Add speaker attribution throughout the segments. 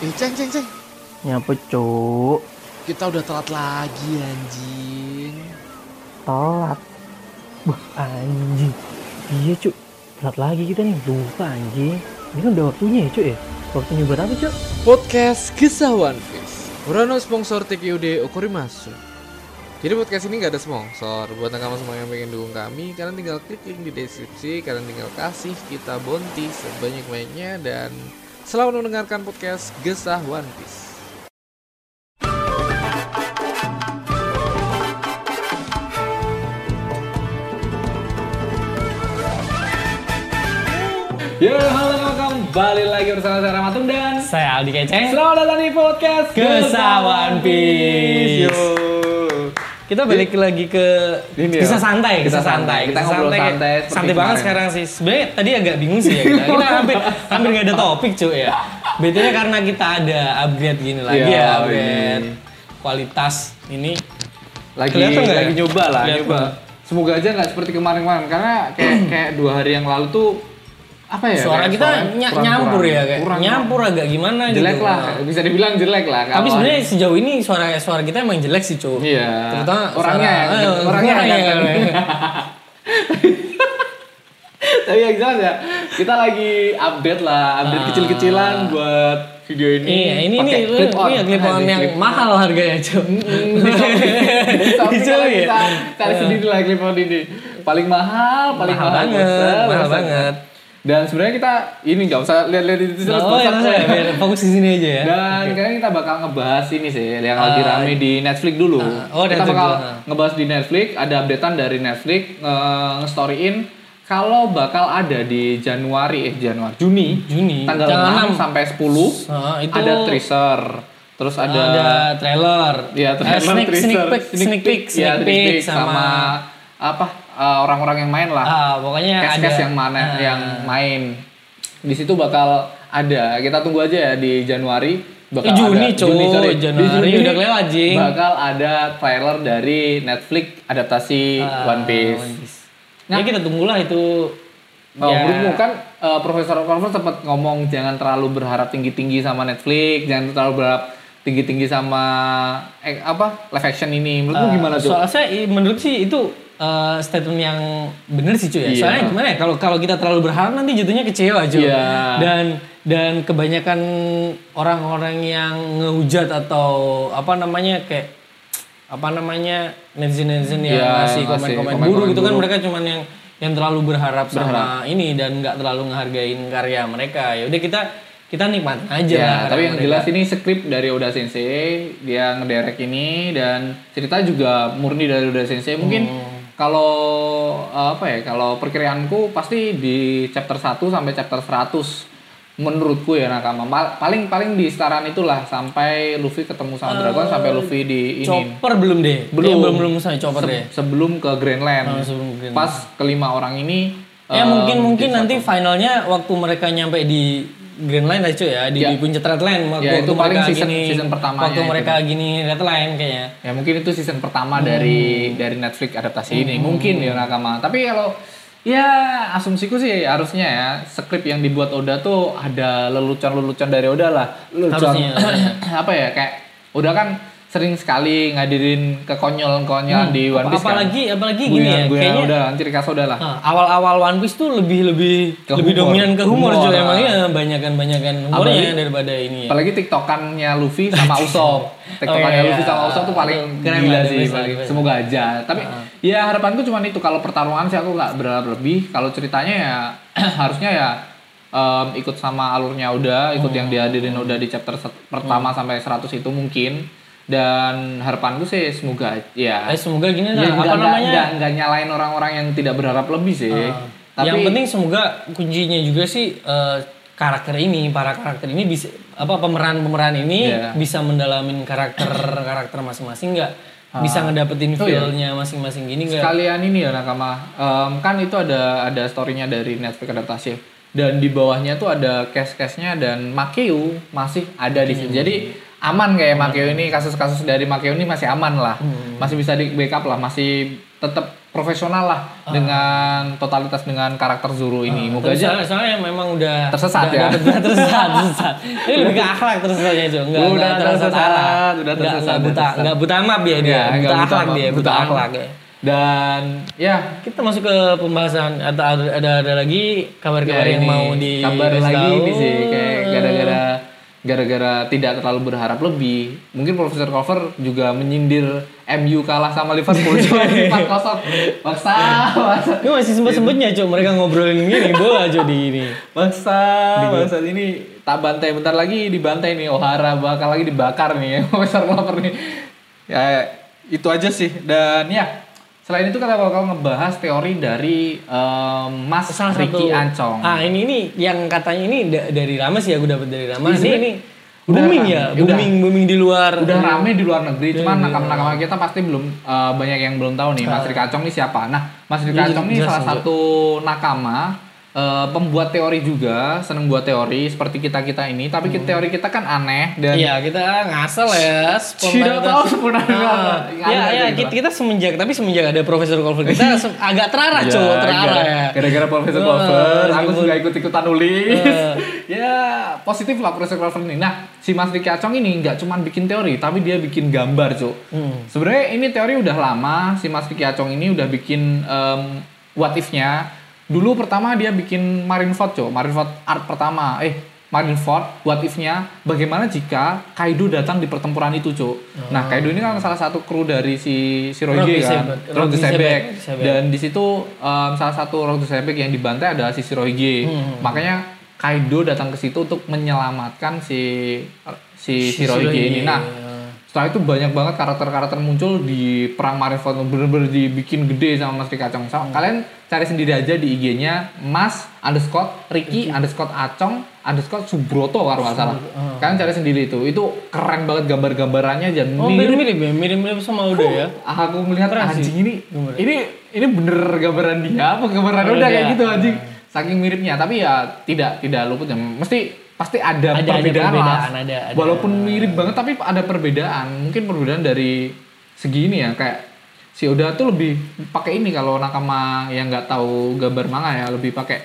Speaker 1: Eh, ceng, ceng, ceng.
Speaker 2: Nyapa cuk?
Speaker 1: Kita udah telat lagi, anjing.
Speaker 2: Telat. Wah anjing. Iya cuk. Telat lagi kita nih. Lupa anjing. Ini kan udah waktunya ya cuk ya. Waktunya buat apa cuk?
Speaker 1: Podcast Kisah One Piece. Urano sponsor TQD Okorimasu. Jadi podcast ini nggak ada sponsor. Buat kamu semua yang pengen dukung kami, kalian tinggal klik link di deskripsi, kalian tinggal kasih kita bonti sebanyak-banyaknya dan selamat mendengarkan podcast Gesah One Piece.
Speaker 3: Yo, Ya, halo, welcome kembali lagi bersama saya Ramatun dan
Speaker 4: Saya Aldi Keceng.
Speaker 3: selamat datang di podcast
Speaker 4: Gesah One Piece.
Speaker 3: Yo.
Speaker 4: Kita balik lagi ke
Speaker 3: Ini ya.
Speaker 4: bisa santai,
Speaker 3: Kita
Speaker 4: bisa
Speaker 3: santai.
Speaker 4: santai,
Speaker 3: Kita
Speaker 4: kisah
Speaker 3: ngobrol santai
Speaker 4: santai,
Speaker 3: seperti
Speaker 4: banget
Speaker 3: kemarin.
Speaker 4: sekarang sih. Sebenarnya tadi agak bingung sih ya kita. Kita hampir hampir nggak ada topik cuy ya. Betulnya karena kita ada upgrade gini lagi
Speaker 3: Iya,
Speaker 4: ya,
Speaker 3: ini.
Speaker 4: upgrade kualitas ini.
Speaker 3: Lagi
Speaker 4: Kelihatan nggak ya?
Speaker 3: lagi nyoba lah,
Speaker 4: Kelihatan.
Speaker 3: nyoba. Semoga aja nggak seperti kemarin-kemarin karena kayak kayak dua hari yang lalu tuh apa ya?
Speaker 4: Hmm. Suara
Speaker 3: kayak
Speaker 4: kita
Speaker 3: suaranya
Speaker 4: ny-
Speaker 3: kurang-
Speaker 4: nyampur
Speaker 3: kurang-
Speaker 4: ya kayak
Speaker 3: kurang-
Speaker 4: nyampur agak gimana gitu.
Speaker 3: jelek lah, bisa dibilang jelek lah.
Speaker 4: Tapi
Speaker 3: kawan.
Speaker 4: sebenarnya sejauh ini suara suara kita emang jelek sih cuy.
Speaker 3: iya.
Speaker 4: Terutama
Speaker 3: orangnya,
Speaker 4: suara-
Speaker 3: yang-
Speaker 4: eh,
Speaker 3: orangnya, kan. yang-
Speaker 4: orangnya.
Speaker 3: Tapi yang jelas ya, kita lagi update lah, update
Speaker 4: Ah.
Speaker 3: kecil-kecilan buat video ini.
Speaker 4: Iya, ini
Speaker 3: Pakai
Speaker 4: nih,
Speaker 3: clip on.
Speaker 4: iya clip
Speaker 3: Ah,
Speaker 4: on
Speaker 3: ini
Speaker 4: yang
Speaker 3: clip on.
Speaker 4: mahal harganya, cuy. ya?
Speaker 3: Tapi kalau Hmm. kita cari
Speaker 4: Iya.
Speaker 3: sendiri lah clip on ini paling mahal, paling
Speaker 4: Mahal
Speaker 3: mahal,
Speaker 4: banget,
Speaker 3: besar,
Speaker 4: mahal
Speaker 3: besar.
Speaker 4: banget.
Speaker 3: Dan sebenarnya kita ini nggak usah lihat-lihat di situ
Speaker 4: Oh, ya,
Speaker 3: bosan.
Speaker 4: saya biar fokus di sini aja ya.
Speaker 3: Dan kayaknya kita bakal ngebahas ini sih yang lagi rame di Netflix dulu.
Speaker 4: Ah, oh,
Speaker 3: kita
Speaker 4: Netflix
Speaker 3: bakal
Speaker 4: dulu, ah.
Speaker 3: ngebahas di Netflix, ada updatean dari Netflix eh, nge-storyin kalau bakal ada di Januari eh Januari Juni
Speaker 4: Juni,
Speaker 3: tanggal
Speaker 4: tanggal
Speaker 3: 6 sampai 10
Speaker 4: Ah, itu-
Speaker 3: ada teaser terus ada,
Speaker 4: ada, trailer,
Speaker 3: ya
Speaker 4: Eh, sneak, sneak peek, sneak peek,
Speaker 3: ya,
Speaker 4: sneak peek sama,
Speaker 3: apa eh, orang-orang yang main lah
Speaker 4: ah, pokoknya ada
Speaker 3: Kes-kes yang mana
Speaker 4: Ah,
Speaker 3: yang main di situ bakal ada kita tunggu aja ya di Januari bakal
Speaker 4: Eh, Juni,
Speaker 3: ada
Speaker 4: coy.
Speaker 3: sorry. Di
Speaker 4: Januari
Speaker 3: Juni
Speaker 4: udah kelewat, Jing.
Speaker 3: bakal ada trailer dari Netflix adaptasi
Speaker 4: ah,
Speaker 3: One Piece
Speaker 4: Ya kita tunggulah itu. Ya.
Speaker 3: Oh, menurutmu kan eh, Profesor Corver sempat ngomong jangan terlalu berharap tinggi-tinggi sama Netflix, jangan terlalu berharap tinggi-tinggi sama eh, apa live action ini. Menurutmu
Speaker 4: Ah,
Speaker 3: gimana tuh?
Speaker 4: Soalnya Eh, saya i- menurut sih itu eh, statement yang bener sih cuy ya.
Speaker 3: Iya.
Speaker 4: Soalnya gimana ya kalau kalau kita terlalu berharap nanti jatuhnya kecewa cuy.
Speaker 3: Iya.
Speaker 4: Dan dan kebanyakan orang-orang yang ngehujat atau apa namanya kayak apa namanya netizen-netizen yang
Speaker 3: Iya,
Speaker 4: ngasih
Speaker 3: ngasih
Speaker 4: komen-komen
Speaker 3: komen-komen
Speaker 4: buruk itu kan
Speaker 3: buruk.
Speaker 4: mereka cuman yang yang terlalu berharap, sama ini dan nggak terlalu ngehargain karya mereka. Ya udah kita kita nikmatin aja
Speaker 3: Ya,
Speaker 4: lah karya
Speaker 3: tapi yang
Speaker 4: Iya, mereka.
Speaker 3: jelas ini skrip dari Oda Sensei, dia ngederek ini dan cerita juga murni dari Oda Sensei. Mungkin
Speaker 4: Oh.
Speaker 3: kalau eh, apa ya, kalau perkiraanku pasti di chapter 1 sampai chapter 100 menurutku ya nakama Ma- paling paling di setaraan itulah sampai Luffy ketemu sama
Speaker 4: Eh,
Speaker 3: Dragon sampai Luffy di ini
Speaker 4: Chopper belum deh.
Speaker 3: Belum.
Speaker 4: Dia belum belum sama Chopper deh.
Speaker 3: sebelum ke Greenland.
Speaker 4: Oh, sebelum ke Greenland.
Speaker 3: Pas kelima orang ini
Speaker 4: Ya
Speaker 3: eh,
Speaker 4: mungkin mungkin
Speaker 3: jadi
Speaker 4: nanti finalnya waktu mereka nyampe di Green Line aja cuy ya di,
Speaker 3: Ya.
Speaker 4: di puncak Red Line waktu,
Speaker 3: Ya, itu
Speaker 4: waktu
Speaker 3: paling
Speaker 4: mereka
Speaker 3: season- season pertamanya
Speaker 4: waktu
Speaker 3: itu.
Speaker 4: mereka gini Red Line kayaknya.
Speaker 3: Ya mungkin itu season pertama
Speaker 4: Hmm.
Speaker 3: dari dari Netflix adaptasi ini mungkin ya nakama. Tapi kalau ya asumsiku sih harusnya ya skrip yang dibuat Oda tuh ada lelucon-lelucon dari Oda lah. Lelucon
Speaker 4: Harusnya. iya.
Speaker 3: apa ya kayak Oda kan sering sekali ngadirin kekonyolan-konyolan di One Piece kan.
Speaker 4: Hmm. apalagi apalagi gini ya
Speaker 3: Guyon-guyon
Speaker 4: kayaknya
Speaker 3: Oda kan ciri khas Oda lah.
Speaker 4: ah, awal-awal One Piece tuh lebih lebih
Speaker 3: Ke
Speaker 4: lebih
Speaker 3: humor.
Speaker 4: dominan ke humor,
Speaker 3: Humor, ah.
Speaker 4: cuy emang iya banyakan-banyakan humornya daripada ini ya.
Speaker 3: Apalagi tiktokannya Luffy sama Usopp. Tiktokannya
Speaker 4: Oh, iya, iya.
Speaker 3: Luffy sama Usopp tuh paling
Speaker 4: Keren
Speaker 3: gila
Speaker 4: banget,
Speaker 3: sih.
Speaker 4: bagus,
Speaker 3: paling-
Speaker 4: bagus.
Speaker 3: Semoga aja. Tapi
Speaker 4: Ah.
Speaker 3: ya harapanku cuma itu. Kalau pertarungan sih aku nggak berharap lebih. Kalau ceritanya ya harusnya ya em, ikut sama alurnya udah, ikut
Speaker 4: Oh.
Speaker 3: yang dihadirin udah di chapter set- pertama
Speaker 4: Hmm.
Speaker 3: sampai 100 itu mungkin. Dan harapanku sih semoga ya.
Speaker 4: Eh, semoga
Speaker 3: ya
Speaker 4: gini
Speaker 3: nggak-
Speaker 4: lah apa
Speaker 3: nggak-
Speaker 4: namanya? Ah.
Speaker 3: nggak- nggak nyalain orang-orang yang tidak berharap lebih sih. Tapi
Speaker 4: yang penting semoga kuncinya juga sih eh, karakter ini, para karakter ini bisa apa pemeran-pemeran ini
Speaker 3: Iya.
Speaker 4: bisa mendalamin karakter-karakter masing-masing nggak? Bisa ngedapetin
Speaker 3: Oh, iya.
Speaker 4: feel-nya masing-masing gini nggak?
Speaker 3: sekalian ini ya nakama Em, kan itu ada ada storynya dari Netflix adaptasi dan di bawahnya tuh ada case-case-nya dan Makeu masih ada di sini jadi aman kayak
Speaker 4: Hmm.
Speaker 3: Makeu ini kasus-kasus dari Makeu ini masih aman lah masih bisa di backup lah masih tetap profesional lah dengan totalitas dengan karakter Zoro ini. Moga
Speaker 4: Ah. Tapi
Speaker 3: aja
Speaker 4: soalnya, soalnya memang udah
Speaker 3: Tersesat
Speaker 4: udah-
Speaker 3: ya?
Speaker 4: udah- udah tersesat, tersesat. Ini lebih ke akhlak tersesatnya itu. Enggak,
Speaker 3: Udah tersesat, udah tersesat,
Speaker 4: Enggak
Speaker 3: udah
Speaker 4: buta,
Speaker 3: tersesat.
Speaker 4: enggak buta map dia dia.
Speaker 3: Ya,
Speaker 4: buta,
Speaker 3: nggak
Speaker 4: akhlak dia, buta, akhlak. ya.
Speaker 3: Dan ya
Speaker 4: Kita masuk ke pembahasan atau ada ada, ada lagi kabar-kabar
Speaker 3: ya
Speaker 4: yang
Speaker 3: ini,
Speaker 4: mau di
Speaker 3: kabar
Speaker 4: kasih
Speaker 3: lagi
Speaker 4: tahu.
Speaker 3: nih sih kayak gara-gara gara-gara tidak terlalu berharap lebih. Mungkin Profesor Cover juga menyindir MU kalah sama Liverpool cuma 4-0. Maksa, maksa.
Speaker 4: Ini masih sempet-sempetnya cuy
Speaker 3: Iya.
Speaker 4: mereka ngobrolin gini bola cuy di ini.
Speaker 3: Maksa, maksa ini tak bantai bentar lagi dibantai nih Ohara bakal lagi dibakar nih Profesor Clover nih. Ya itu aja sih dan ya selain itu kita bakal ngebahas teori dari em, Mas
Speaker 4: Salah satu-
Speaker 3: Ricky Ancong.
Speaker 4: Ah ini ini yang katanya ini da- dari lama sih ya gue dapat dari lama.
Speaker 3: Ini
Speaker 4: Ini
Speaker 3: sebenarnya
Speaker 4: ini
Speaker 3: Iya, udah
Speaker 4: booming
Speaker 3: rame,
Speaker 4: ya,
Speaker 3: udah.
Speaker 4: booming booming di luar.
Speaker 3: udah rame di luar negeri, cuman nakam-nakam kita pasti belum eh, banyak yang belum tahu nih Mas Rikacong ini siapa. Nah, Mas Rikacong ini
Speaker 4: jelasin,
Speaker 3: salah
Speaker 4: Cok.
Speaker 3: satu nakama eh, pembuat teori juga, seneng buat teori seperti kita-kita ini, tapi teori kita kan aneh dan
Speaker 4: Iya kita ngasal ya spontanitas.
Speaker 3: tahu sebenarnya.
Speaker 4: Ah,
Speaker 3: Nggak
Speaker 4: ya
Speaker 3: ada
Speaker 4: ya
Speaker 3: gitu
Speaker 4: kita,
Speaker 3: lah.
Speaker 4: kita semenjak tapi semenjak ada Profesor Colfer kita se- agak terarah
Speaker 3: Ya,
Speaker 4: cowok terarah
Speaker 3: gara-
Speaker 4: ya.
Speaker 3: Gara-gara Profesor
Speaker 4: Eh,
Speaker 3: Clover, aku
Speaker 4: meskipun-
Speaker 3: juga ikut-ikutan nulis.
Speaker 4: Eh.
Speaker 3: ya, positif lah Profesor Clover ini. Nah, si Mas Riki Acong ini nggak cuma bikin teori, tapi dia bikin gambar, Cuk.
Speaker 4: Hmm.
Speaker 3: Sebenarnya ini teori udah lama, si Mas Riki Acong ini udah bikin em, what if-nya. Dulu pertama dia bikin Marineford, Cuk. Marineford art pertama. Eh, Marineford, what if-nya, bagaimana jika Kaido datang di pertempuran itu, Cuk. Nah, Kaido ini kan salah satu kru dari si Shirohige
Speaker 4: Oh. Rocky
Speaker 3: kan.
Speaker 4: Sebek.
Speaker 3: Rocky
Speaker 4: Rocky Sebek.
Speaker 3: Sebek.
Speaker 4: Sebek.
Speaker 3: Dan di situ em, salah satu Road to Sebek yang dibantai adalah si Shirohige. Makanya Kaido datang ke situ untuk menyelamatkan si si Shirohige ini. Nah, setelah itu banyak banget karakter-karakter muncul di perang Marineford bener-bener dibikin gede sama Mas Ricky Acong. So, Kalian cari sendiri aja di IG-nya Mas underscore Ricky underscore Acong underscore Subroto ah. kalau nggak salah. Kalian cari sendiri itu. Itu keren banget gambar-gambarannya dan
Speaker 4: Oh
Speaker 3: mirip
Speaker 4: mirip-mirip ya, mirip-mirip sama udah ya.
Speaker 3: aku melihat anjing ini ini ini bener gambaran dia apa gambaran
Speaker 4: Gambaran
Speaker 3: udah
Speaker 4: dia.
Speaker 3: kayak gitu anjing saking miripnya tapi ya tidak tidak luput ya mesti pasti ada,
Speaker 4: Ada- ada
Speaker 3: perbedaan, lah.
Speaker 4: perbedaan, ada- ada.
Speaker 3: walaupun mirip banget tapi ada perbedaan mungkin perbedaan dari segi ini ya kayak si Oda tuh lebih pakai ini kalau nakama yang nggak tahu gambar manga ya lebih pakai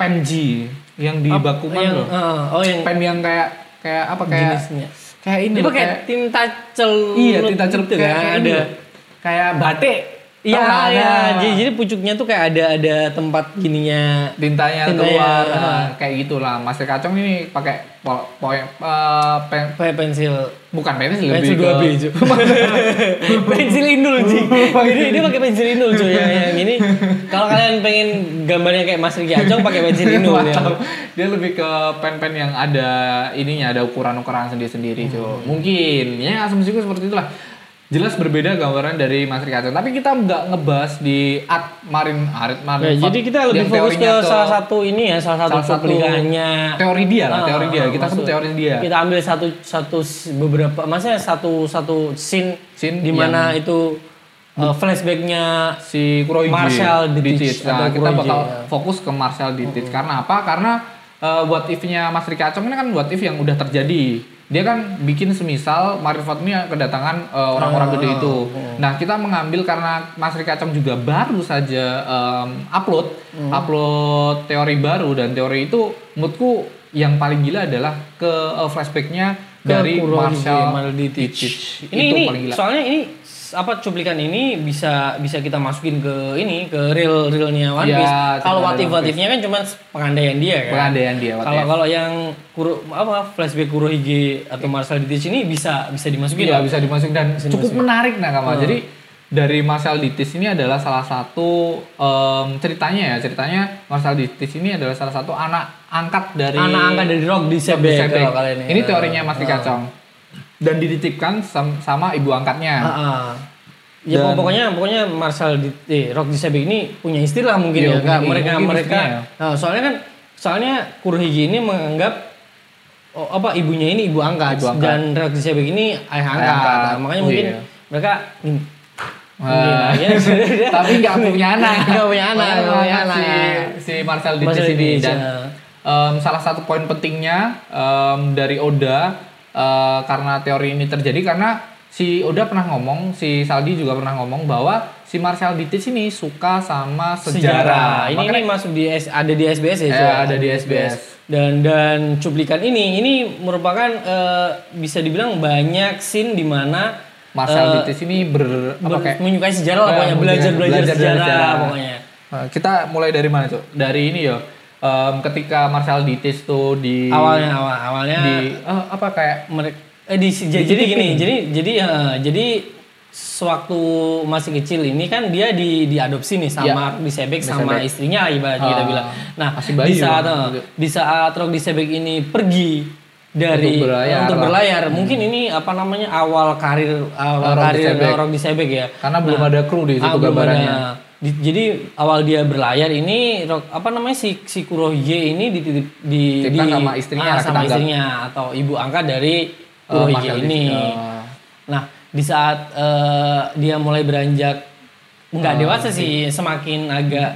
Speaker 3: penji yang di bakuman
Speaker 4: Yang
Speaker 3: loh
Speaker 4: eh, oh yang
Speaker 3: pen yang kayak kayak apa kayak
Speaker 4: jenisnya.
Speaker 3: kayak ini
Speaker 4: Dia
Speaker 3: loh,
Speaker 4: pakai
Speaker 3: kayak-
Speaker 4: tinta celup.
Speaker 3: Iya, tinta celup
Speaker 4: gitu
Speaker 3: kayak,
Speaker 4: kan,
Speaker 3: kayak
Speaker 4: ada.
Speaker 3: ada kayak batik.
Speaker 4: Iya,
Speaker 3: Tau nggak?
Speaker 4: iya.
Speaker 3: Nah,
Speaker 4: Jadi, jadi pucuknya tuh kayak ada ada tempat gininya.
Speaker 3: tintanya
Speaker 4: Tintanya,
Speaker 3: keluar
Speaker 4: ah.
Speaker 3: nah, kayak gitulah. Mas Kacong ini pakai po, po- eh, pen-
Speaker 4: Pakai ya, pensil
Speaker 3: bukan pensil lebih
Speaker 4: pensil dua B
Speaker 3: ke
Speaker 4: cuy. pensil indul cuy. Jadi dia pakai pensil indul cuy yang, yang ini. Kalau kalian pengen gambarnya kayak Mas Riki Acong pakai pensil indul ya.
Speaker 3: Atau dia lebih ke pen-pen yang ada ininya ada ukuran-ukuran sendiri-sendiri cuy.
Speaker 4: Hmm.
Speaker 3: Mungkin ya asumsiku seperti itulah. Jelas berbeda gambaran dari Mas Rikato, tapi kita nggak ngebahas di art marin art marin.
Speaker 4: Nah, jadi kita
Speaker 3: yang
Speaker 4: lebih fokus ke
Speaker 3: teorinya
Speaker 4: salah satu ini ya, salah satu Iya.
Speaker 3: salah satu
Speaker 4: publikasinya
Speaker 3: teori dia lah,
Speaker 4: Ah,
Speaker 3: teori dia. Kita sebut
Speaker 4: maksud-
Speaker 3: teori dia.
Speaker 4: Kita ambil satu satu s- beberapa maksudnya satu satu scene,
Speaker 3: Scene
Speaker 4: di mana itu uh, flashbacknya
Speaker 3: si Kurohige
Speaker 4: Marshall
Speaker 3: di
Speaker 4: Ditich
Speaker 3: Ditch. Nah,
Speaker 4: atau
Speaker 3: kita
Speaker 4: Kurohige,
Speaker 3: bakal
Speaker 4: ya.
Speaker 3: fokus ke Marshall Ditich karena apa? Karena eh, what if-nya Mas Rika Acong ini kan what if yang udah terjadi. Dia kan bikin semisal Marineford ini kedatangan eh,
Speaker 4: Ah,
Speaker 3: orang-orang gede itu.
Speaker 4: mm.
Speaker 3: Nah, kita mengambil karena Mas Rika Acong juga baru saja em, upload
Speaker 4: Mm.
Speaker 3: upload teori baru dan teori itu menurutku yang paling gila adalah ke eh, flashback-nya
Speaker 4: Ke
Speaker 3: dari
Speaker 4: Kurohige,
Speaker 3: Marshall
Speaker 4: Marshall Ditich.
Speaker 3: Ditich.
Speaker 4: ini
Speaker 3: itu
Speaker 4: ini
Speaker 3: paling gila.
Speaker 4: soalnya ini s- apa cuplikan ini bisa bisa kita masukin ke ini ke real realnya One
Speaker 3: Iya,
Speaker 4: Piece. Kalau
Speaker 3: cerita
Speaker 4: what
Speaker 3: dari
Speaker 4: if
Speaker 3: One
Speaker 4: what if-nya kan cuma pengandaian dia kan.
Speaker 3: Pengandaian dia, what
Speaker 4: Kalau
Speaker 3: if.
Speaker 4: kalau yang kuro, apa flashback Kurohige atau Marshall Ditch ini bisa bisa dimasukin.
Speaker 3: Iya
Speaker 4: lah.
Speaker 3: bisa dimasukin dan cukup menarik nah Kama. Jadi dari Marcel Dittis ini adalah salah satu em, ceritanya ya ceritanya Marcel Dittis ini adalah salah satu anak angkat dari
Speaker 4: Anak angkat dari Rock di CB
Speaker 3: Disabek.
Speaker 4: kalau kalian
Speaker 3: Ini teorinya Mas Dikacong dan dititipkan sam- sama ibu angkatnya.
Speaker 4: Ah, ah. Ya
Speaker 3: Dan-
Speaker 4: pokoknya pokoknya Marshall di eh, Rock Disabek ini punya istilah mungkin
Speaker 3: Iya,
Speaker 4: ya, Kak.
Speaker 3: mungkin,
Speaker 4: mereka
Speaker 3: mungkin
Speaker 4: mereka
Speaker 3: istilah
Speaker 4: Nah, soalnya kan soalnya Kurohige ini menganggap oh, apa ibunya ini ibu angkat,
Speaker 3: Ibu angkat.
Speaker 4: dan Rock Disabek ini ayah angkat.
Speaker 3: angkat.
Speaker 4: Nah, makanya mungkin
Speaker 3: Iya. Ah.
Speaker 4: mereka Iya,
Speaker 3: Wah.
Speaker 4: ya.
Speaker 3: Tapi nggak punya anak.
Speaker 4: Enggak punya anak,
Speaker 3: Makanya
Speaker 4: nggak punya
Speaker 3: si-
Speaker 4: anak.
Speaker 3: Si, Marcel di
Speaker 4: Marcel
Speaker 3: sini
Speaker 4: Dittis,
Speaker 3: dan
Speaker 4: ya.
Speaker 3: em, salah satu poin pentingnya em, dari Oda eh, karena teori ini terjadi karena si Oda pernah ngomong, si Saldi juga pernah ngomong bahwa si Marcel Ditic ini suka sama
Speaker 4: sejarah.
Speaker 3: sejarah.
Speaker 4: Ini, ini
Speaker 3: Makanya-
Speaker 4: masuk di S- ada di SBS ya,
Speaker 3: Ya,
Speaker 4: Cok?
Speaker 3: ada di SBS.
Speaker 4: Dan dan cuplikan ini ini merupakan eh, bisa dibilang banyak scene di mana
Speaker 3: Marcel
Speaker 4: eh,
Speaker 3: Ditic ini ber, apa
Speaker 4: ber-
Speaker 3: kayak
Speaker 4: menyukai sejarah lah
Speaker 3: Eh,
Speaker 4: pokoknya belajar belajar
Speaker 3: belajar dari
Speaker 4: sejarah,
Speaker 3: sejarah.
Speaker 4: pokoknya.
Speaker 3: Nah, kita mulai dari mana tuh? Dari ini ya. em, ketika Marcel Ditis tuh di
Speaker 4: Awalnya awal awalnya
Speaker 3: di eh, apa kayak
Speaker 4: mereka eh, di, jadi jadi gini jadi jadi eh, jadi sewaktu masih kecil ini kan dia di diadopsi nih sama Rock Disebek sama istrinya ibarat kita
Speaker 3: Iya. Ah,
Speaker 4: bilang nah
Speaker 3: masih Gitu. bayi
Speaker 4: di saat
Speaker 3: loh.
Speaker 4: eh, di saat Rock Disebek ini pergi dari
Speaker 3: Untuk berlayar. Hmm.
Speaker 4: untuk berlayar, mungkin ini apa namanya awal karir awal
Speaker 3: Rock
Speaker 4: karir
Speaker 3: Disebek.
Speaker 4: Rock Disebek ya
Speaker 3: karena belum ada kru di situ
Speaker 4: Ah, belum
Speaker 3: gambarannya.
Speaker 4: ada. Di- jadi awal dia berlayar ini Rock- apa namanya si si Kurohige ini dititip di,
Speaker 3: Dititipkan
Speaker 4: di-
Speaker 3: sama istrinya,
Speaker 4: ah, sama
Speaker 3: kita anggap.
Speaker 4: istrinya atau ibu angkat dari
Speaker 3: Eh,
Speaker 4: Kurohige
Speaker 3: Marcel Ditic,
Speaker 4: ini.
Speaker 3: eh,
Speaker 4: Nah, di saat eh, dia mulai beranjak nggak
Speaker 3: Ah,
Speaker 4: dewasa sih,
Speaker 3: iya.
Speaker 4: semakin agak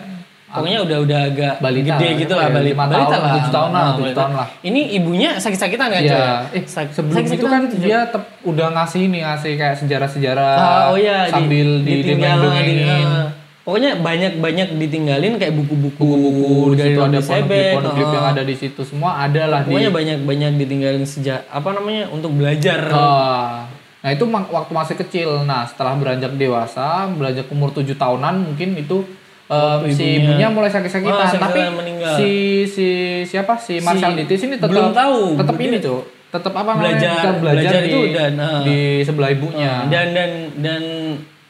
Speaker 4: pokoknya udah udah agak
Speaker 3: Balita,
Speaker 4: gede gitu lah
Speaker 3: ya,
Speaker 4: bali-
Speaker 3: lima
Speaker 4: balita
Speaker 3: tahun, tujuh tahun lah,
Speaker 4: Ah,
Speaker 3: tujuh
Speaker 4: balita.
Speaker 3: tahun lah.
Speaker 4: Ini ibunya sakit-sakitan kan,
Speaker 3: Iya.
Speaker 4: Coy?
Speaker 3: Eh,
Speaker 4: Sak-
Speaker 3: sebelum itu
Speaker 4: sakit-sakitan,
Speaker 3: kan
Speaker 4: Coy.
Speaker 3: dia tep- udah ngasih ini ngasih kayak sejarah-sejarah
Speaker 4: Ah, oh iya,
Speaker 3: sambil di,
Speaker 4: ditinggal,
Speaker 3: didongeng-dongengin.
Speaker 4: di- ah. Pokoknya banyak-banyak ditinggalin kayak buku-buku
Speaker 3: buku-buku di
Speaker 4: dari
Speaker 3: situ ada
Speaker 4: Robi Sebek,
Speaker 3: pondok-pondok
Speaker 4: ah.
Speaker 3: yang ada di situ semua ada lah di
Speaker 4: Pokoknya banyak-banyak ditinggalin sejak apa namanya untuk belajar.
Speaker 3: Ah, nah itu mak- waktu masih kecil. Nah setelah beranjak dewasa, beranjak umur 7 tahunan mungkin itu em, si ibunya mulai sakit-sakitan.
Speaker 4: Wah, Ah, sakit-sakitan
Speaker 3: Tapi
Speaker 4: meninggal.
Speaker 3: si si siapa si Marcel Ditis ini tetap
Speaker 4: belum tahu.
Speaker 3: tetap
Speaker 4: Dia-
Speaker 3: ini tuh, tetap apa
Speaker 4: Belajar-
Speaker 3: tetap belajar,
Speaker 4: belajar
Speaker 3: di,
Speaker 4: itu dan, ah.
Speaker 3: di sebelah ibunya.
Speaker 4: dan dan dan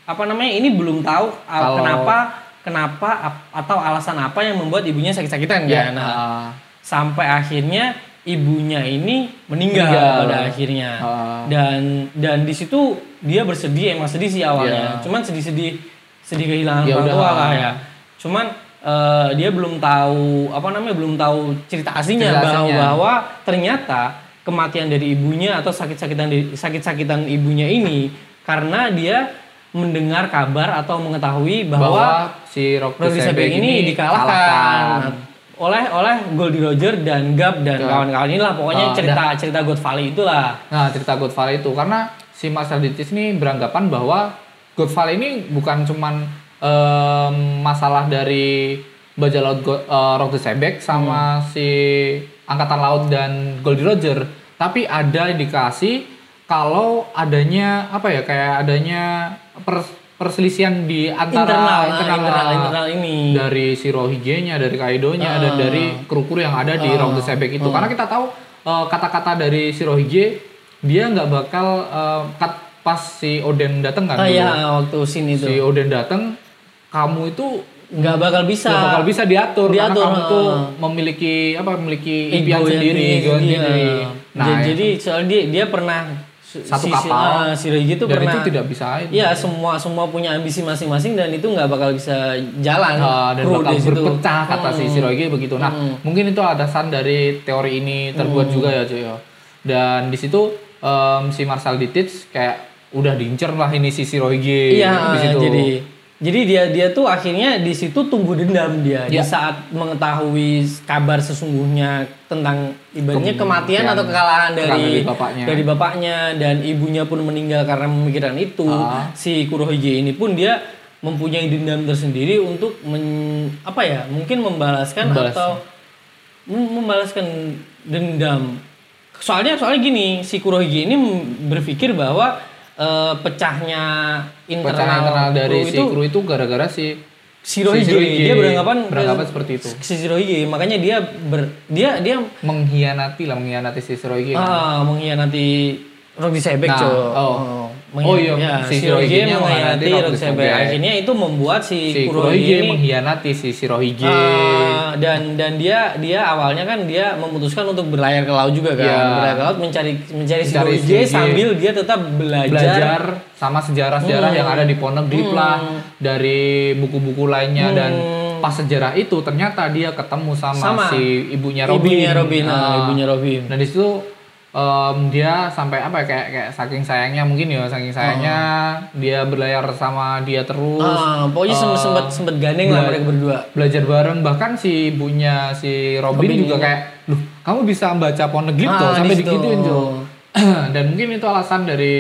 Speaker 4: apa namanya ini belum tahu ah,
Speaker 3: Kalau-
Speaker 4: kenapa kenapa ap- atau alasan apa yang membuat ibunya sakit-sakitan
Speaker 3: Ya,
Speaker 4: ya. Nah,
Speaker 3: ah.
Speaker 4: sampai akhirnya ibunya ini meninggal,
Speaker 3: Meninggal.
Speaker 4: pada akhirnya.
Speaker 3: Ah.
Speaker 4: Dan dan di situ dia bersedih emang sedih sih awalnya.
Speaker 3: Ya.
Speaker 4: Cuman sedih-sedih sedih kehilangan
Speaker 3: Ya
Speaker 4: orang
Speaker 3: udah.
Speaker 4: tua lah ya. Cuman eh, dia belum tahu apa namanya belum tahu cerita aslinya
Speaker 3: Cerita
Speaker 4: bahwa
Speaker 3: aslinya.
Speaker 4: bahwa ternyata kematian dari ibunya atau sakit-sakitan dari- sakit-sakitan ibunya ini karena dia mendengar kabar atau mengetahui
Speaker 3: bahwa
Speaker 4: bahwa
Speaker 3: si Rock
Speaker 4: Rodi Sebeng ini dikalahkan oleh oleh Goldie Roger dan Gap dan
Speaker 3: Ya.
Speaker 4: kawan-kawan inilah
Speaker 3: Ah,
Speaker 4: pokoknya cerita cerita God Valley itulah.
Speaker 3: Nah, cerita Godfall itu karena si Master Ditis ini beranggapan bahwa Godfall ini bukan cuman em, masalah dari bajak laut Go, eh, Rock the Sebek sama
Speaker 4: Hmm.
Speaker 3: si angkatan laut dan Goldie Roger, tapi ada indikasi kalau adanya apa ya kayak adanya pers- perselisihan di
Speaker 4: internal,
Speaker 3: antara
Speaker 4: internal, internal, ini.
Speaker 3: Hmm. dari si Rohingya-nya, dari Kaido-nya, ada
Speaker 4: Ah.
Speaker 3: dari kru-kru yang ada di Rock the Sebek itu. Karena kita tahu eh, kata-kata dari si Rohingya dia nggak bakal eh, kat- pas si Oden datang kan.
Speaker 4: Ah
Speaker 3: dulu.
Speaker 4: ya waktu scene itu
Speaker 3: Si Oden datang, kamu itu
Speaker 4: nggak bakal bisa.
Speaker 3: nggak bakal bisa diatur, karena
Speaker 4: Diatur,
Speaker 3: kamu
Speaker 4: ah.
Speaker 3: tuh memiliki apa memiliki
Speaker 4: Ego
Speaker 3: impian
Speaker 4: yang
Speaker 3: sendiri,
Speaker 4: tinggi,
Speaker 3: ego
Speaker 4: iya.
Speaker 3: sendiri. Nah,
Speaker 4: Ja- jadi soalnya dia, dia pernah si-
Speaker 3: Satu
Speaker 4: si-
Speaker 3: kapal,
Speaker 4: ah, si Rohingya itu
Speaker 3: dan
Speaker 4: pernah.
Speaker 3: itu tidak bisa itu.
Speaker 4: Iya semua semua punya ambisi masing-masing dan itu nggak bakal bisa jalan.
Speaker 3: Ah, dan
Speaker 4: kru
Speaker 3: bakal
Speaker 4: Eh, di situ. Hmm.
Speaker 3: berpecah kata si Shiroge begitu. Nah, mungkin itu alasan dari teori ini terbuat
Speaker 4: Hmm.
Speaker 3: juga ya, cuy. ya. Dan di situ em, si Marcel Ditich kayak udah diincer lah ini si Shiroge
Speaker 4: Iya,
Speaker 3: di situ.
Speaker 4: jadi jadi dia dia tuh akhirnya di situ tumbuh dendam dia di
Speaker 3: Iya.
Speaker 4: saat mengetahui kabar sesungguhnya tentang ibaratnya kematian atau kekalahan dari
Speaker 3: dari bapaknya.
Speaker 4: dari bapaknya dan ibunya pun meninggal karena memikirkan itu.
Speaker 3: Ah.
Speaker 4: Si Kurohige ini pun dia mempunyai dendam tersendiri untuk men- apa ya? Mungkin membalaskan
Speaker 3: Membalas.
Speaker 4: atau mem- membalaskan dendam. Soalnya soalnya gini, si Kurohige ini mem- berpikir bahwa eh, pecahnya internal,
Speaker 3: Pecahan internal dari
Speaker 4: kru
Speaker 3: si kru itu gara-gara si
Speaker 4: si Shirohige.
Speaker 3: si Shirohige.
Speaker 4: Dia beranggapan
Speaker 3: Beranggapan seperti itu.
Speaker 4: Si Shirohige, makanya dia ber, dia dia
Speaker 3: mengkhianati lah mengkhianati si Shiroge. kan.
Speaker 4: ah, mengkhianati Rocky Sebek,
Speaker 3: Nah,
Speaker 4: Cok.
Speaker 3: oh.
Speaker 4: Mengkhian-
Speaker 3: Oh, iya,
Speaker 4: ya,
Speaker 3: si
Speaker 4: si Shirohige
Speaker 3: Shirohige-nya
Speaker 4: mengkhianati
Speaker 3: mengkhianati
Speaker 4: Rocky
Speaker 3: Rocky
Speaker 4: Sebek.
Speaker 3: Sebek.
Speaker 4: Akhirnya itu membuat si,
Speaker 3: si
Speaker 4: Kurohige
Speaker 3: Kurohige
Speaker 4: ini
Speaker 3: mengkhianati si Shiroge.
Speaker 4: Ah, dan dan dia dia awalnya kan dia memutuskan untuk berlayar ke laut juga kan
Speaker 3: Iya.
Speaker 4: berlayar ke laut mencari mencari,
Speaker 3: Mencari
Speaker 4: si
Speaker 3: Shirohige.
Speaker 4: Rohige sambil dia tetap belajar, Hmm.
Speaker 3: belajar sama sejarah-sejarah yang ada di Pondok Deep lah dari buku-buku lainnya dan pas sejarah itu ternyata dia ketemu sama,
Speaker 4: Hmm. Sama.
Speaker 3: si ibunya Robin.
Speaker 4: ibunya Robin ah,
Speaker 3: Nah,
Speaker 4: ibunya Robin
Speaker 3: Nah di situ em, dia sampai apa ya, kayak kayak saking sayangnya mungkin ya saking sayangnya dia berlayar sama dia terus
Speaker 4: Ah, Iya. pokoknya sem- sempet sempet gandeng lah
Speaker 3: bela-
Speaker 4: mereka berdua
Speaker 3: belajar bareng bahkan si ibunya si Robin,
Speaker 4: Robin
Speaker 3: juga
Speaker 4: ini.
Speaker 3: kayak loh kamu bisa baca Poneglyph
Speaker 4: Ah,
Speaker 3: tuh
Speaker 4: di
Speaker 3: sampai
Speaker 4: situ.
Speaker 3: digituin tuh dan mungkin itu alasan dari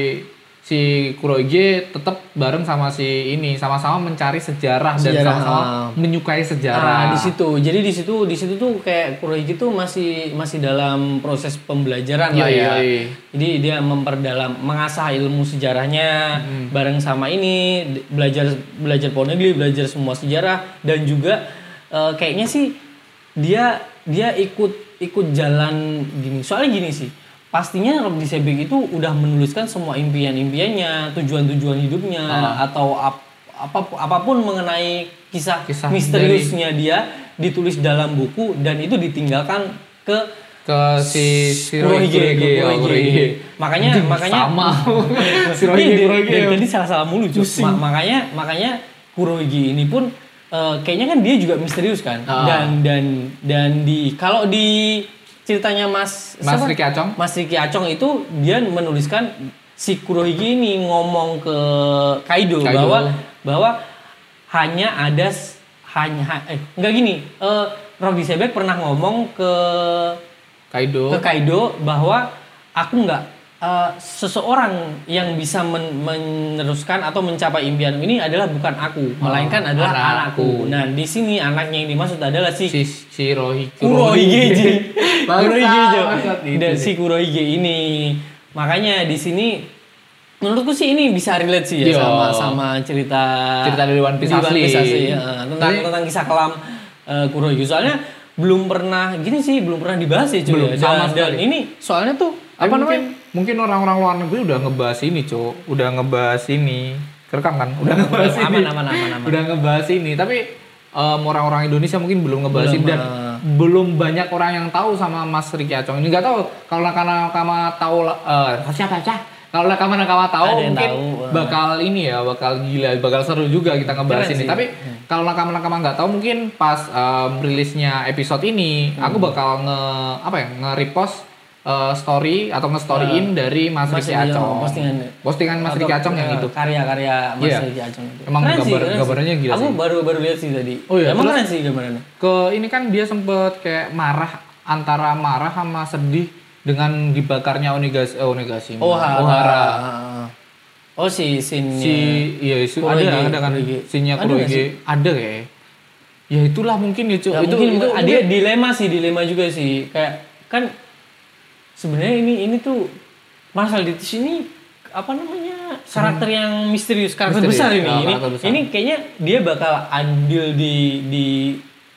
Speaker 3: si Kuroige tetap bareng sama si ini sama-sama mencari sejarah, dan
Speaker 4: Sejarah.
Speaker 3: sama-sama menyukai
Speaker 4: Nah,
Speaker 3: sejarah
Speaker 4: di situ. Jadi di situ di situ tuh kayak Kurohige tuh masih masih dalam proses pembelajaran lah
Speaker 3: Yoi,
Speaker 4: ya.
Speaker 3: yoi.
Speaker 4: Jadi dia memperdalam mengasah ilmu sejarahnya bareng sama ini d- belajar belajar ponegli, belajar semua sejarah dan juga eh, kayaknya sih dia dia ikut ikut jalan gini. Soalnya gini sih. Pastinya Rob Disebek itu udah menuliskan semua impian-impiannya, tujuan-tujuan hidupnya atau ap- apa apapun mengenai kisah
Speaker 3: Kisah
Speaker 4: misteriusnya dia ditulis dalam buku dan itu ditinggalkan ke
Speaker 3: ke si si
Speaker 4: Kurohige, ke
Speaker 3: Kurohige, oh,
Speaker 4: Kurohige.
Speaker 3: Kurohige.
Speaker 4: Makanya
Speaker 3: Anjing,
Speaker 4: makanya
Speaker 3: sama
Speaker 4: Ih,
Speaker 3: Kurohige
Speaker 4: dari-
Speaker 3: Kurohige
Speaker 4: dari tadi salah-salah mulu cuy. Ma- makanya makanya Kurohige ini pun eh, kayaknya kan dia juga misterius kan.
Speaker 3: Ah.
Speaker 4: Dan dan dan di kalau di ceritanya Mas
Speaker 3: Mas
Speaker 4: siapa?
Speaker 3: Riki Acong
Speaker 4: Mas Riki Acong itu dia menuliskan si Kurohige ini ngomong ke Kaido,
Speaker 3: Kaido.
Speaker 4: bahwa bahwa hanya ada s- hanya ha- eh enggak gini, eh Rob Disebek pernah ngomong ke
Speaker 3: Kaido
Speaker 4: ke Kaido bahwa aku nggak eh, seseorang yang bisa men- meneruskan atau mencapai impian ini adalah bukan aku, melainkan adalah
Speaker 3: Oh, anak-
Speaker 4: anakku.
Speaker 3: anakku.
Speaker 4: Nah, di sini anaknya yang dimaksud adalah si
Speaker 3: si Shirohige
Speaker 4: Kurohige.
Speaker 3: Bangsat,
Speaker 4: Kurohige Jo.
Speaker 3: bangsat itu.
Speaker 4: Dan si Kurohige ini. Makanya di sini menurutku sih ini bisa relate sih
Speaker 3: Yo.
Speaker 4: ya sama sama cerita
Speaker 3: Cerita dari One Piece
Speaker 4: di
Speaker 3: asli.
Speaker 4: ya. tentang
Speaker 3: Jadi-
Speaker 4: tentang kisah kelam eh, Kurohige. Soalnya belum pernah gini sih, belum pernah dibahas ya cuy.
Speaker 3: Belum,
Speaker 4: ya.
Speaker 3: sama
Speaker 4: Dan, dan
Speaker 3: sekali.
Speaker 4: ini soalnya tuh
Speaker 3: apa
Speaker 4: apa
Speaker 3: mungkin,
Speaker 4: namanya?
Speaker 3: mungkin orang-orang luar negeri udah ngebahas ini cok udah ngebahas ini kerekam kan udah ngebahas
Speaker 4: Aman,
Speaker 3: ini
Speaker 4: aman, aman, aman.
Speaker 3: udah ngebahas ini tapi em, orang-orang Indonesia mungkin belum ngebahas
Speaker 4: Belum,
Speaker 3: ini dan
Speaker 4: eh.
Speaker 3: belum banyak orang yang tahu sama Mas Riki Acong ini nggak tahu kalau nakama nakama tahu lah- eh siapa siapa kalau nakama nakama tahu
Speaker 4: Ada yang
Speaker 3: mungkin
Speaker 4: tahu, eh.
Speaker 3: bakal ini ya bakal gila bakal seru juga kita ngebahas
Speaker 4: Keren
Speaker 3: ini
Speaker 4: sih. Iya.
Speaker 3: tapi kalau nakama nakama nggak tahu mungkin pas em, rilisnya episode ini
Speaker 4: Hmm.
Speaker 3: aku bakal nge apa ya nge repost story atau nge storyin dari Mas
Speaker 4: Eh, Mas
Speaker 3: Riki
Speaker 4: Riki
Speaker 3: Acong
Speaker 4: postingan.
Speaker 3: postingan Mas
Speaker 4: atau,
Speaker 3: Riki Acong yang
Speaker 4: eh,
Speaker 3: itu
Speaker 4: karya-karya Mas
Speaker 3: Iya.
Speaker 4: Riki Acong itu.
Speaker 3: Emang
Speaker 4: Keren sih,
Speaker 3: gambar-
Speaker 4: keren sih.
Speaker 3: gambarnya gila
Speaker 4: Aku
Speaker 3: sih.
Speaker 4: baru baru lihat sih tadi.
Speaker 3: Oh iya,
Speaker 4: Emang
Speaker 3: terus-
Speaker 4: keren sih gambarnya.
Speaker 3: ke ini kan dia sempet kayak marah antara marah sama sedih dengan dibakarnya Onigashima. eh, Onigashima.
Speaker 4: Ohara.
Speaker 3: Ohara.
Speaker 4: Oh si sin
Speaker 3: Si iya si,
Speaker 4: Kurohige,
Speaker 3: ada ada kan
Speaker 4: Kurohige.
Speaker 3: sinnya
Speaker 4: Ada
Speaker 3: Kurohige ada kayak. Ya itulah mungkin ya, Cuk.
Speaker 4: Ya,
Speaker 3: itu
Speaker 4: mungkin
Speaker 3: itu
Speaker 4: ada
Speaker 3: mungkin-
Speaker 4: dilema sih, dilema juga sih. Kayak kan sebenarnya ini ini tuh Marshall Dittis ini apa namanya karakter yang misterius karakter
Speaker 3: Hmm. Misterius.
Speaker 4: besar ini
Speaker 3: Oh,
Speaker 4: ini,
Speaker 3: karakter besar.
Speaker 4: ini kayaknya dia bakal andil di di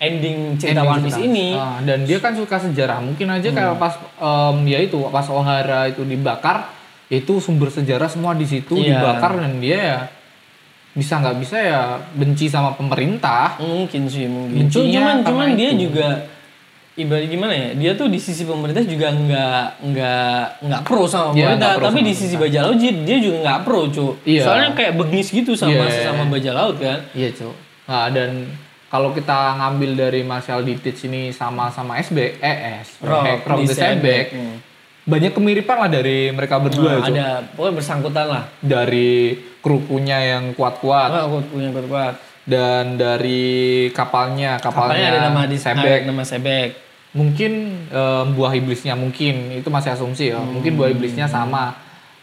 Speaker 4: ending cerita
Speaker 3: ending
Speaker 4: One Piece
Speaker 3: cerita.
Speaker 4: ini Hmm.
Speaker 3: Ah, dan dia kan suka sejarah. Mungkin aja kayak pas em, ya itu pas Ohara itu dibakar, itu sumber sejarah semua di situ
Speaker 4: Iya.
Speaker 3: dibakar dan dia ya bisa nggak bisa ya benci sama pemerintah.
Speaker 4: mungkin sih mungkin Cu-
Speaker 3: Intinya
Speaker 4: cuman
Speaker 3: karena
Speaker 4: cuman dia
Speaker 3: itu.
Speaker 4: juga ibarat gimana ya dia tuh di sisi pemerintah juga nggak nggak nggak pro sama
Speaker 3: Iya,
Speaker 4: pemerintah
Speaker 3: nggak pro
Speaker 4: tapi
Speaker 3: sama
Speaker 4: di sisi bajak laut dia dia juga nggak pro cu
Speaker 3: Iya.
Speaker 4: soalnya kayak begnis gitu sama
Speaker 3: Iya.
Speaker 4: sama bajak laut kan
Speaker 3: Iya, Cuk. Nah, dan kalau kita ngambil dari Marcel Ditich ini sama-sama SB, eh, S,
Speaker 4: Rob,
Speaker 3: Rob
Speaker 4: di
Speaker 3: the Setback,
Speaker 4: Setback.
Speaker 3: banyak kemiripan lah dari mereka berdua,
Speaker 4: Nah,
Speaker 3: Cuk.
Speaker 4: ada pokoknya bersangkutan lah
Speaker 3: Dari kerukunya yang kuat-kuat,
Speaker 4: Apa aku punya kuat
Speaker 3: dan dari kapalnya kapalnya,
Speaker 4: Apalagi ada nama di
Speaker 3: Sebek.
Speaker 4: nama sebek
Speaker 3: mungkin em, buah iblisnya mungkin itu masih asumsi ya mungkin buah
Speaker 4: Hmm.
Speaker 3: iblisnya sama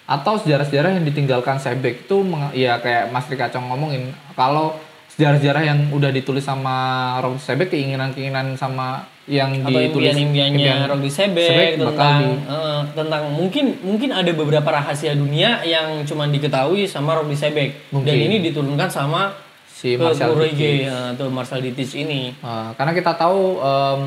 Speaker 3: atau sejarah-sejarah yang ditinggalkan Sebek itu meng- ya kayak Mas Rika Cong ngomongin kalau sejarah-sejarah yang udah ditulis sama Rob Sebek keinginan-keinginan sama yang
Speaker 4: atau
Speaker 3: ditulis
Speaker 4: impian-impiannya
Speaker 3: impian
Speaker 4: Rocky Sebek
Speaker 3: Sebek bakal
Speaker 4: tentang
Speaker 3: di-
Speaker 4: eh, tentang mungkin mungkin ada beberapa rahasia dunia yang cuma diketahui sama Rocky Sebek dan
Speaker 3: Mungkin.
Speaker 4: ini diturunkan sama
Speaker 3: si
Speaker 4: ke
Speaker 3: Marcel
Speaker 4: Kurohige
Speaker 3: Ditich.
Speaker 4: ya, atau Marcel Ditich ini
Speaker 3: Eh, karena kita tahu em,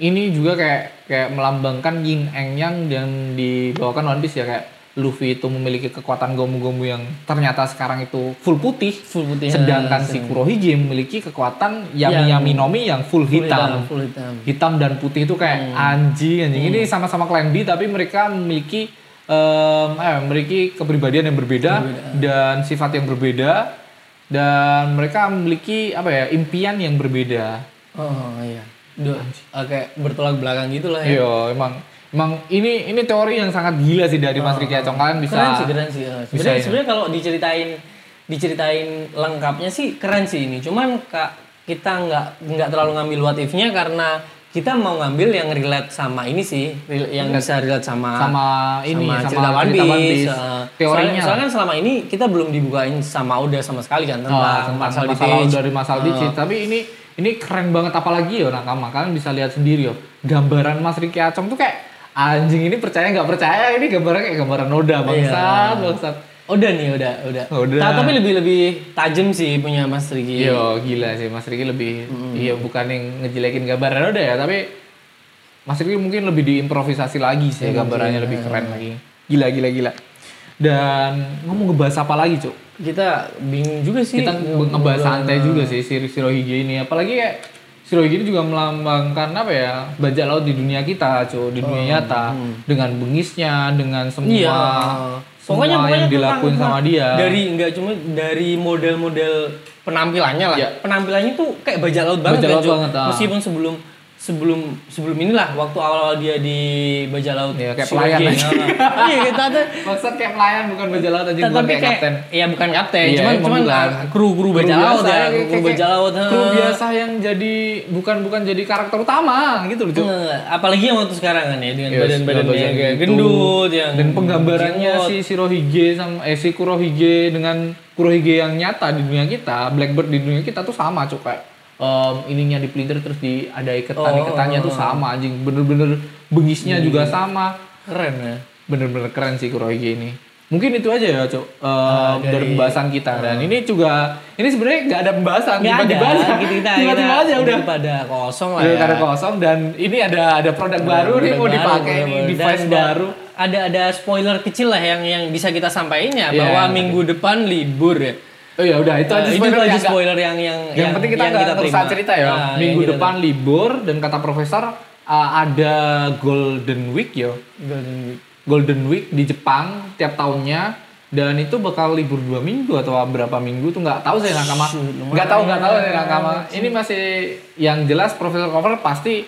Speaker 3: ini juga kayak kayak melambangkan yin and yang dan dibawakan One Piece ya kayak Luffy itu memiliki kekuatan gomu-gomu yang ternyata sekarang itu full putih,
Speaker 4: full putih ya,
Speaker 3: sedangkan si Kurohige memiliki kekuatan yami yami nomi yang full
Speaker 4: full
Speaker 3: hitam.
Speaker 4: full hitam Hmm.
Speaker 3: Hitam dan putih itu kayak anjing anjing. Ini sama-sama klan B tapi mereka memiliki em, eh, memiliki kepribadian yang berbeda, dan sifat yang berbeda dan mereka memiliki apa ya impian yang berbeda.
Speaker 4: oh iya Duh, kayak bertolak belakang gitu lah ya
Speaker 3: Iya, emang emang ini ini teori yang sangat gila sih dari Mas Riki Acong. Kalian bisa
Speaker 4: keren sih keren sih eh. sebenarnya
Speaker 3: ya.
Speaker 4: sebenarnya kalau diceritain diceritain lengkapnya sih keren sih ini cuman kak kita nggak nggak terlalu ngambil what if-nya karena kita mau ngambil yang relate sama ini sih, rel- yang bisa relate sama
Speaker 3: sama ini sama,
Speaker 4: cerita One
Speaker 3: cerita One
Speaker 4: Piece,
Speaker 3: Piece.
Speaker 4: uh,
Speaker 3: teorinya
Speaker 4: Soalnya,
Speaker 3: lah.
Speaker 4: soalnya kan selama ini kita belum dibukain sama Oda sama sekali kan tentang, Eh.
Speaker 3: Ah, tentang
Speaker 4: Marshall
Speaker 3: masalah,
Speaker 4: Ditch.
Speaker 3: dari masalah Ditch. Tapi ini ini keren banget apalagi ya nakama. Kalian bisa lihat sendiri yo. Gambaran Mas Riki Acong tuh kayak anjing ini percaya nggak percaya ini gambaran kayak gambaran noda
Speaker 4: Iya.
Speaker 3: bangsat bangsat.
Speaker 4: Oda nih, Oda, Oda.
Speaker 3: Oda.
Speaker 4: Ta- Tapi lebih lebih tajam sih punya Mas Riki.
Speaker 3: Yo Iya, gila sih Mas Riki lebih iya bukan yang ngejelekin gambaran noda ya tapi Mas Riki mungkin lebih diimprovisasi lagi sih
Speaker 4: Iya,
Speaker 3: gambarannya lebih keren lagi. Gila gila gila. Dan ngomong ngebahas apa lagi, Cuk?
Speaker 4: Kita bingung juga sih.
Speaker 3: kita ngebahas
Speaker 4: iya.
Speaker 3: santai juga sih si Shirohige ini apalagi kayak Shirohige ini juga melambangkan apa ya bajak laut di dunia kita cuy di dunia nyata dengan bengisnya dengan semua
Speaker 4: Oh, Iya.
Speaker 3: semua yang
Speaker 4: pokoknya
Speaker 3: dilakuin
Speaker 4: tentang-
Speaker 3: sama dia
Speaker 4: Dari nggak cuma dari model-model penampilannya lah.
Speaker 3: Iya.
Speaker 4: Penampilannya tuh kayak bajak laut banget.
Speaker 3: Bajak
Speaker 4: kan,
Speaker 3: laut
Speaker 4: Jo?
Speaker 3: banget, ah.
Speaker 4: Meskipun sebelum sebelum sebelum inilah waktu awal-awal dia di bajak laut.
Speaker 3: Iya, kayak
Speaker 4: si
Speaker 3: pelayan
Speaker 4: Oge,
Speaker 3: aja.
Speaker 4: nah. Iya, kita tuh
Speaker 3: maksud kayak pelayan bukan bajak laut aja bukan
Speaker 4: tapi
Speaker 3: kayak kapten
Speaker 4: ya bukan kapten,
Speaker 3: Iya,
Speaker 4: cuman
Speaker 3: emang
Speaker 4: cuman
Speaker 3: bukan.
Speaker 4: ah, kru-kru
Speaker 3: Kru
Speaker 4: bajak laut
Speaker 3: biasa,
Speaker 4: ya,
Speaker 3: kayak-
Speaker 4: kru
Speaker 3: kayak-
Speaker 4: bajak laut. ah. ha.
Speaker 3: kru biasa yang jadi bukan bukan jadi karakter utama gitu loh cuy
Speaker 4: Eh, apalagi yang waktu sekarang kan ya dengan
Speaker 3: Yes,
Speaker 4: badan-badan
Speaker 3: badan-badan
Speaker 4: yang
Speaker 3: kayak gitu.
Speaker 4: gendut yang
Speaker 3: dan penggambarannya
Speaker 4: jengot.
Speaker 3: si Shirohige sama eh, si Kurohige dengan Kurohige yang nyata di dunia kita, Blackbird di dunia kita tuh sama cuy kayak em, ininya dipelintir terus di ada
Speaker 4: Oh,
Speaker 3: iketan iketannya tuh sama anjing bener-bener bengisnya
Speaker 4: Iya,
Speaker 3: juga sama
Speaker 4: keren ya.
Speaker 3: bener-bener keren sih Kurohige ini mungkin itu aja ya cok em, dari pembahasan kita dan ini juga ini sebenarnya nggak ada pembahasan
Speaker 4: Nggak ada,
Speaker 3: tiba-tiba aja
Speaker 4: gitu kita
Speaker 3: tiba-tiba
Speaker 4: kita
Speaker 3: aja udah
Speaker 4: pada kosong lah
Speaker 3: udah
Speaker 4: ya.
Speaker 3: karena kosong dan ini ada ada produk baru nih
Speaker 4: Udah
Speaker 3: mau
Speaker 4: baru,
Speaker 3: dipakai
Speaker 4: udah
Speaker 3: nih
Speaker 4: baru.
Speaker 3: device
Speaker 4: Dan- dan
Speaker 3: baru
Speaker 4: Ada ada spoiler kecil lah yang yang bisa kita sampaikan ya
Speaker 3: Iya.
Speaker 4: bahwa minggu depan libur ya.
Speaker 3: Oh ya udah itu aja
Speaker 4: Eh, itu
Speaker 3: spoiler
Speaker 4: aja
Speaker 3: yang nggak-
Speaker 4: spoiler yang yang
Speaker 3: yang, penting kita nggak terusan
Speaker 4: terima.
Speaker 3: cerita ya.
Speaker 4: Ah, yang
Speaker 3: Minggu
Speaker 4: kita
Speaker 3: depan libur dan kata profesor uh, ada Golden Week yo.
Speaker 4: terima. Golden Week.
Speaker 3: Golden Week di Jepang tiap tahunnya dan itu bakal libur dua minggu atau berapa minggu tuh nggak tahu saya nakama nggak tahu nggak tahu
Speaker 4: ya.
Speaker 3: saya nakama ini masih yang jelas Profesor Cover pasti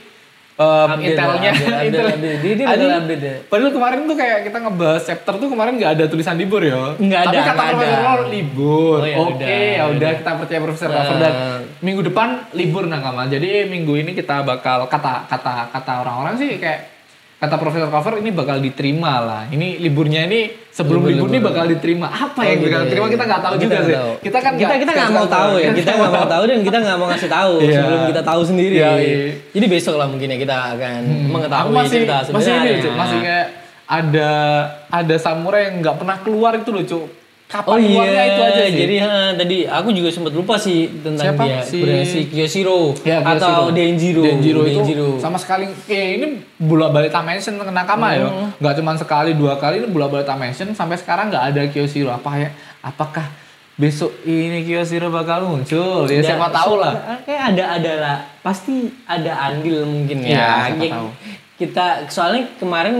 Speaker 3: um,
Speaker 4: Update
Speaker 3: intelnya
Speaker 4: lah,
Speaker 3: intel-
Speaker 4: update, update, update. Dia- dia
Speaker 3: Anjing,
Speaker 4: bakal update ya.
Speaker 3: padahal kemarin tuh kayak kita ngebahas chapter tuh kemarin nggak ada tulisan libur ya
Speaker 4: Nggak
Speaker 3: tapi
Speaker 4: ada,
Speaker 3: kata
Speaker 4: nggak
Speaker 3: Profesor
Speaker 4: ada.
Speaker 3: Cover libur
Speaker 4: Oh, ya
Speaker 3: oke
Speaker 4: udah,
Speaker 3: ya
Speaker 4: ya
Speaker 3: udah kita percaya Profesor Cover dan
Speaker 4: Nah.
Speaker 3: minggu depan libur nakama jadi minggu ini kita bakal kata kata kata orang-orang sih kayak kata Profesor Cover ini bakal diterima lah. Ini liburnya ini sebelum libur, ini bakal diterima. Apa
Speaker 4: Oh, iya,
Speaker 3: yang bakal diterima kita nggak tahu juga sih. Kita kan
Speaker 4: kita kita nggak mau tahu ya kita nggak mau tahu dan kita nggak mau ngasih tahu
Speaker 3: Iya.
Speaker 4: sebelum kita tahu sendiri
Speaker 3: Iya, iya. Hmm.
Speaker 4: jadi besok lah mungkin ya kita akan
Speaker 3: Aku
Speaker 4: mengetahui
Speaker 3: masih
Speaker 4: cerita
Speaker 3: masih ini
Speaker 4: sebenarnya
Speaker 3: Cuk. masih kayak ada ada samurai yang nggak pernah keluar itu loh cuk. Kapan
Speaker 4: Oh
Speaker 3: keluarnya
Speaker 4: iya,
Speaker 3: itu aja sih.
Speaker 4: jadi ha, tadi aku juga sempat lupa sih tentang
Speaker 3: Siapa?
Speaker 4: dia,
Speaker 3: Si-
Speaker 4: Kuda- si Kyoshiro
Speaker 3: Ya, Kyoshiro.
Speaker 4: atau Denjiro.
Speaker 3: Denjiro itu sama sekali eh ini bola balik Dimension kena kama ya.
Speaker 4: Mm-hmm.
Speaker 3: Nggak cuma sekali dua kali ini bola balik Dimension sampai sekarang nggak ada Kyoshiro. Apa ya? Apakah besok ini Kyoshiro bakal muncul? Ya siapa tahu lah.
Speaker 4: eh, Kayak ada ada lah, pasti ada andil mungkin
Speaker 3: Iya,
Speaker 4: ya.
Speaker 3: siapa
Speaker 4: Kayak
Speaker 3: tahu.
Speaker 4: Kita soalnya kemarin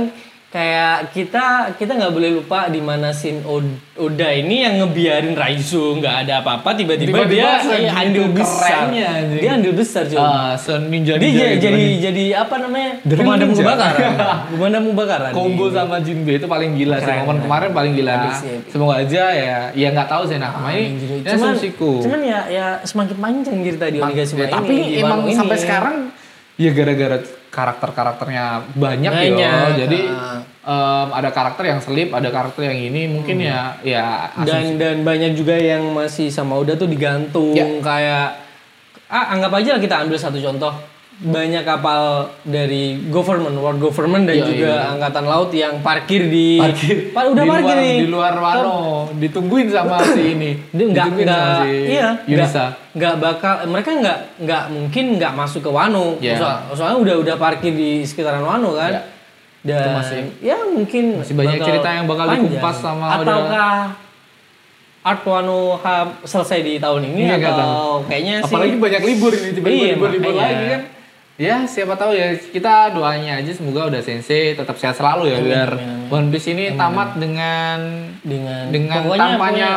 Speaker 4: kayak kita kita nggak boleh lupa di mana Shin Od- Oda ini yang ngebiarin Raizo nggak ada apa-apa tiba-tiba,
Speaker 3: Tiba-tiba
Speaker 4: dia
Speaker 3: segitu
Speaker 4: eh, andil besar.
Speaker 3: kerennya, anjing. gitu,
Speaker 4: Dia andil besar cuy.
Speaker 3: Ah, Sun Ninja
Speaker 4: dia
Speaker 3: Ninja
Speaker 4: jadi,
Speaker 3: itu
Speaker 4: jadi
Speaker 3: lagi.
Speaker 4: jadi apa namanya?
Speaker 3: Drill
Speaker 4: Pemadam
Speaker 3: Ninja.
Speaker 4: kebakaran. Pemadam kebakaran. iya.
Speaker 3: combo sama Jinbe itu paling gila sih.
Speaker 4: Keren.
Speaker 3: Momen kemarin paling gila.
Speaker 4: Habis sih. Ah,
Speaker 3: Semoga aja ya ya nggak tahu sih nah sama ini. ini
Speaker 4: Iya, cuman,
Speaker 3: asumsiku.
Speaker 4: cuman ya ya semakin panjang cerita di Omega Suma
Speaker 3: Ya,
Speaker 4: ini.
Speaker 3: tapi
Speaker 4: di
Speaker 3: emang
Speaker 4: warung
Speaker 3: sampai
Speaker 4: ini.
Speaker 3: sekarang ya gara-gara karakter-karakternya banyak,
Speaker 4: Banyak,
Speaker 3: ya. Jadi
Speaker 4: ah.
Speaker 3: em, ada karakter yang selip, ada karakter yang ini mungkin ya ya
Speaker 4: Hmm. dan dan banyak juga yang masih sama Oda tuh digantung
Speaker 3: Ya.
Speaker 4: kayak ah anggap aja lah kita ambil satu contoh banyak kapal dari government world government dan
Speaker 3: Ya,
Speaker 4: juga
Speaker 3: iya.
Speaker 4: angkatan laut yang parkir di
Speaker 3: parkir
Speaker 4: Pa- udah
Speaker 3: di
Speaker 4: parkir
Speaker 3: luar,
Speaker 4: nih
Speaker 3: di luar Wano ditungguin sama si ini.
Speaker 4: dia nggak
Speaker 3: Ditungguin
Speaker 4: nggak
Speaker 3: sama si
Speaker 4: iya nggak
Speaker 3: Yunisa.
Speaker 4: nggak bakal mereka nggak nggak mungkin nggak masuk ke Wano
Speaker 3: Ya.
Speaker 4: Soal- soalnya udah udah parkir di sekitaran Wano kan
Speaker 3: Ya.
Speaker 4: dan
Speaker 3: Itu masih-
Speaker 4: ya mungkin
Speaker 3: masih banyak
Speaker 4: bakal
Speaker 3: cerita yang bakal
Speaker 4: panjang.
Speaker 3: dikupas sama udah-
Speaker 4: ataukah Art Wano ha- selesai di tahun ini
Speaker 3: Iya, nggak
Speaker 4: atau kayaknya sih
Speaker 3: Apalagi banyak libur ini tiba-tiba
Speaker 4: Iya,
Speaker 3: libur-libur
Speaker 4: makanya.
Speaker 3: lagi kan. Ya siapa tahu ya kita doanya aja semoga udah sensei tetap sehat selalu ya biar One Piece ini tamat dengan
Speaker 4: dengan
Speaker 3: dengan
Speaker 4: pokoknya-
Speaker 3: tampaknya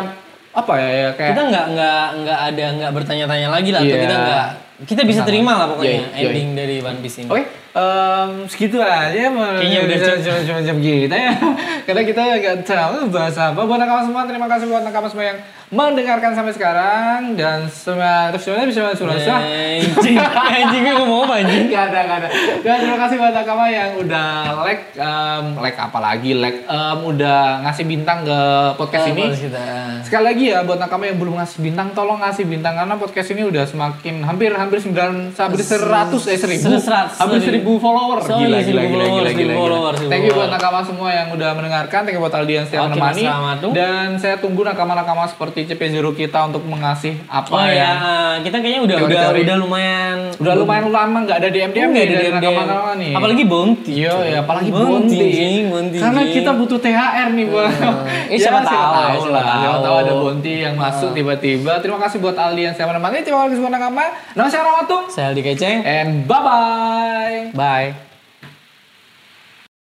Speaker 3: apa ya, ya kayak
Speaker 4: kita nggak nggak nggak ada nggak bertanya-tanya lagi lah atau
Speaker 3: Iya.
Speaker 4: kita nggak kita bisa terima lah
Speaker 3: Iya,
Speaker 4: pokoknya
Speaker 3: iya.
Speaker 4: ending dari One Piece ini
Speaker 3: Oke, Em, segitu aja
Speaker 4: Kayaknya udah cukup.
Speaker 3: cuma cuma ya? jam kita ya karena kita nggak tahu bahas apa buat nakama semua terima kasih buat nakama semua yang mendengarkan sampai sekarang dan semua terus semuanya bisa surasa
Speaker 4: Eh, Anjing, anjing gue ngomong apa anjing?
Speaker 3: Gak ada, gak ada. Dan terima kasih buat Nakama yang udah like, em, like apa lagi, like, em, udah ngasih bintang ke podcast ini. Sekali lagi ya buat Nakama yang belum ngasih bintang, tolong ngasih bintang karena podcast ini udah semakin hampir hampir 9 hampir 100 eh 1000.
Speaker 4: Seratus,
Speaker 3: Hampir
Speaker 4: sorry.
Speaker 3: 1000 follower.
Speaker 4: Sorry,
Speaker 3: Gila, gila,
Speaker 4: 1000
Speaker 3: gila,
Speaker 4: follower,
Speaker 3: gila, gila,
Speaker 4: 1000
Speaker 3: gila.
Speaker 4: follower, 1000
Speaker 3: Thank you buat
Speaker 4: follower.
Speaker 3: Nakama semua yang udah mendengarkan, thank you buat Aldi yang setiap
Speaker 4: Oke,
Speaker 3: menemani.
Speaker 4: Mas Rahmat.
Speaker 3: Dan saya tunggu Nakama-Nakama seperti CP0 kita untuk mengasih apa
Speaker 4: Oh
Speaker 3: yang
Speaker 4: ya, kita kayaknya udah udah
Speaker 3: Teori-teori.
Speaker 4: udah lumayan
Speaker 3: Udah lumayan lama nggak ada DM DM
Speaker 4: Nggak ada
Speaker 3: dari
Speaker 4: DM.
Speaker 3: nakama-nakama nih.
Speaker 4: Apalagi Bounty.
Speaker 3: Iya, ya, apalagi
Speaker 4: Bonti,
Speaker 3: Bonti.
Speaker 4: jing, Bonti,
Speaker 3: Karena
Speaker 4: jing.
Speaker 3: kita butuh THR nih, Bang.
Speaker 4: Eh, siapa tahu, siapa
Speaker 3: lah. Siapa
Speaker 4: tahu. Ah.
Speaker 3: tahu ada Bonti yang masuk tiba-tiba. Terima kasih buat Ali yang saya menemani. Terima kasih buat Nakama. Nama saya Ramatung.
Speaker 4: Saya Aldi Keceng.
Speaker 3: And bye-bye.
Speaker 4: Eh, Bye.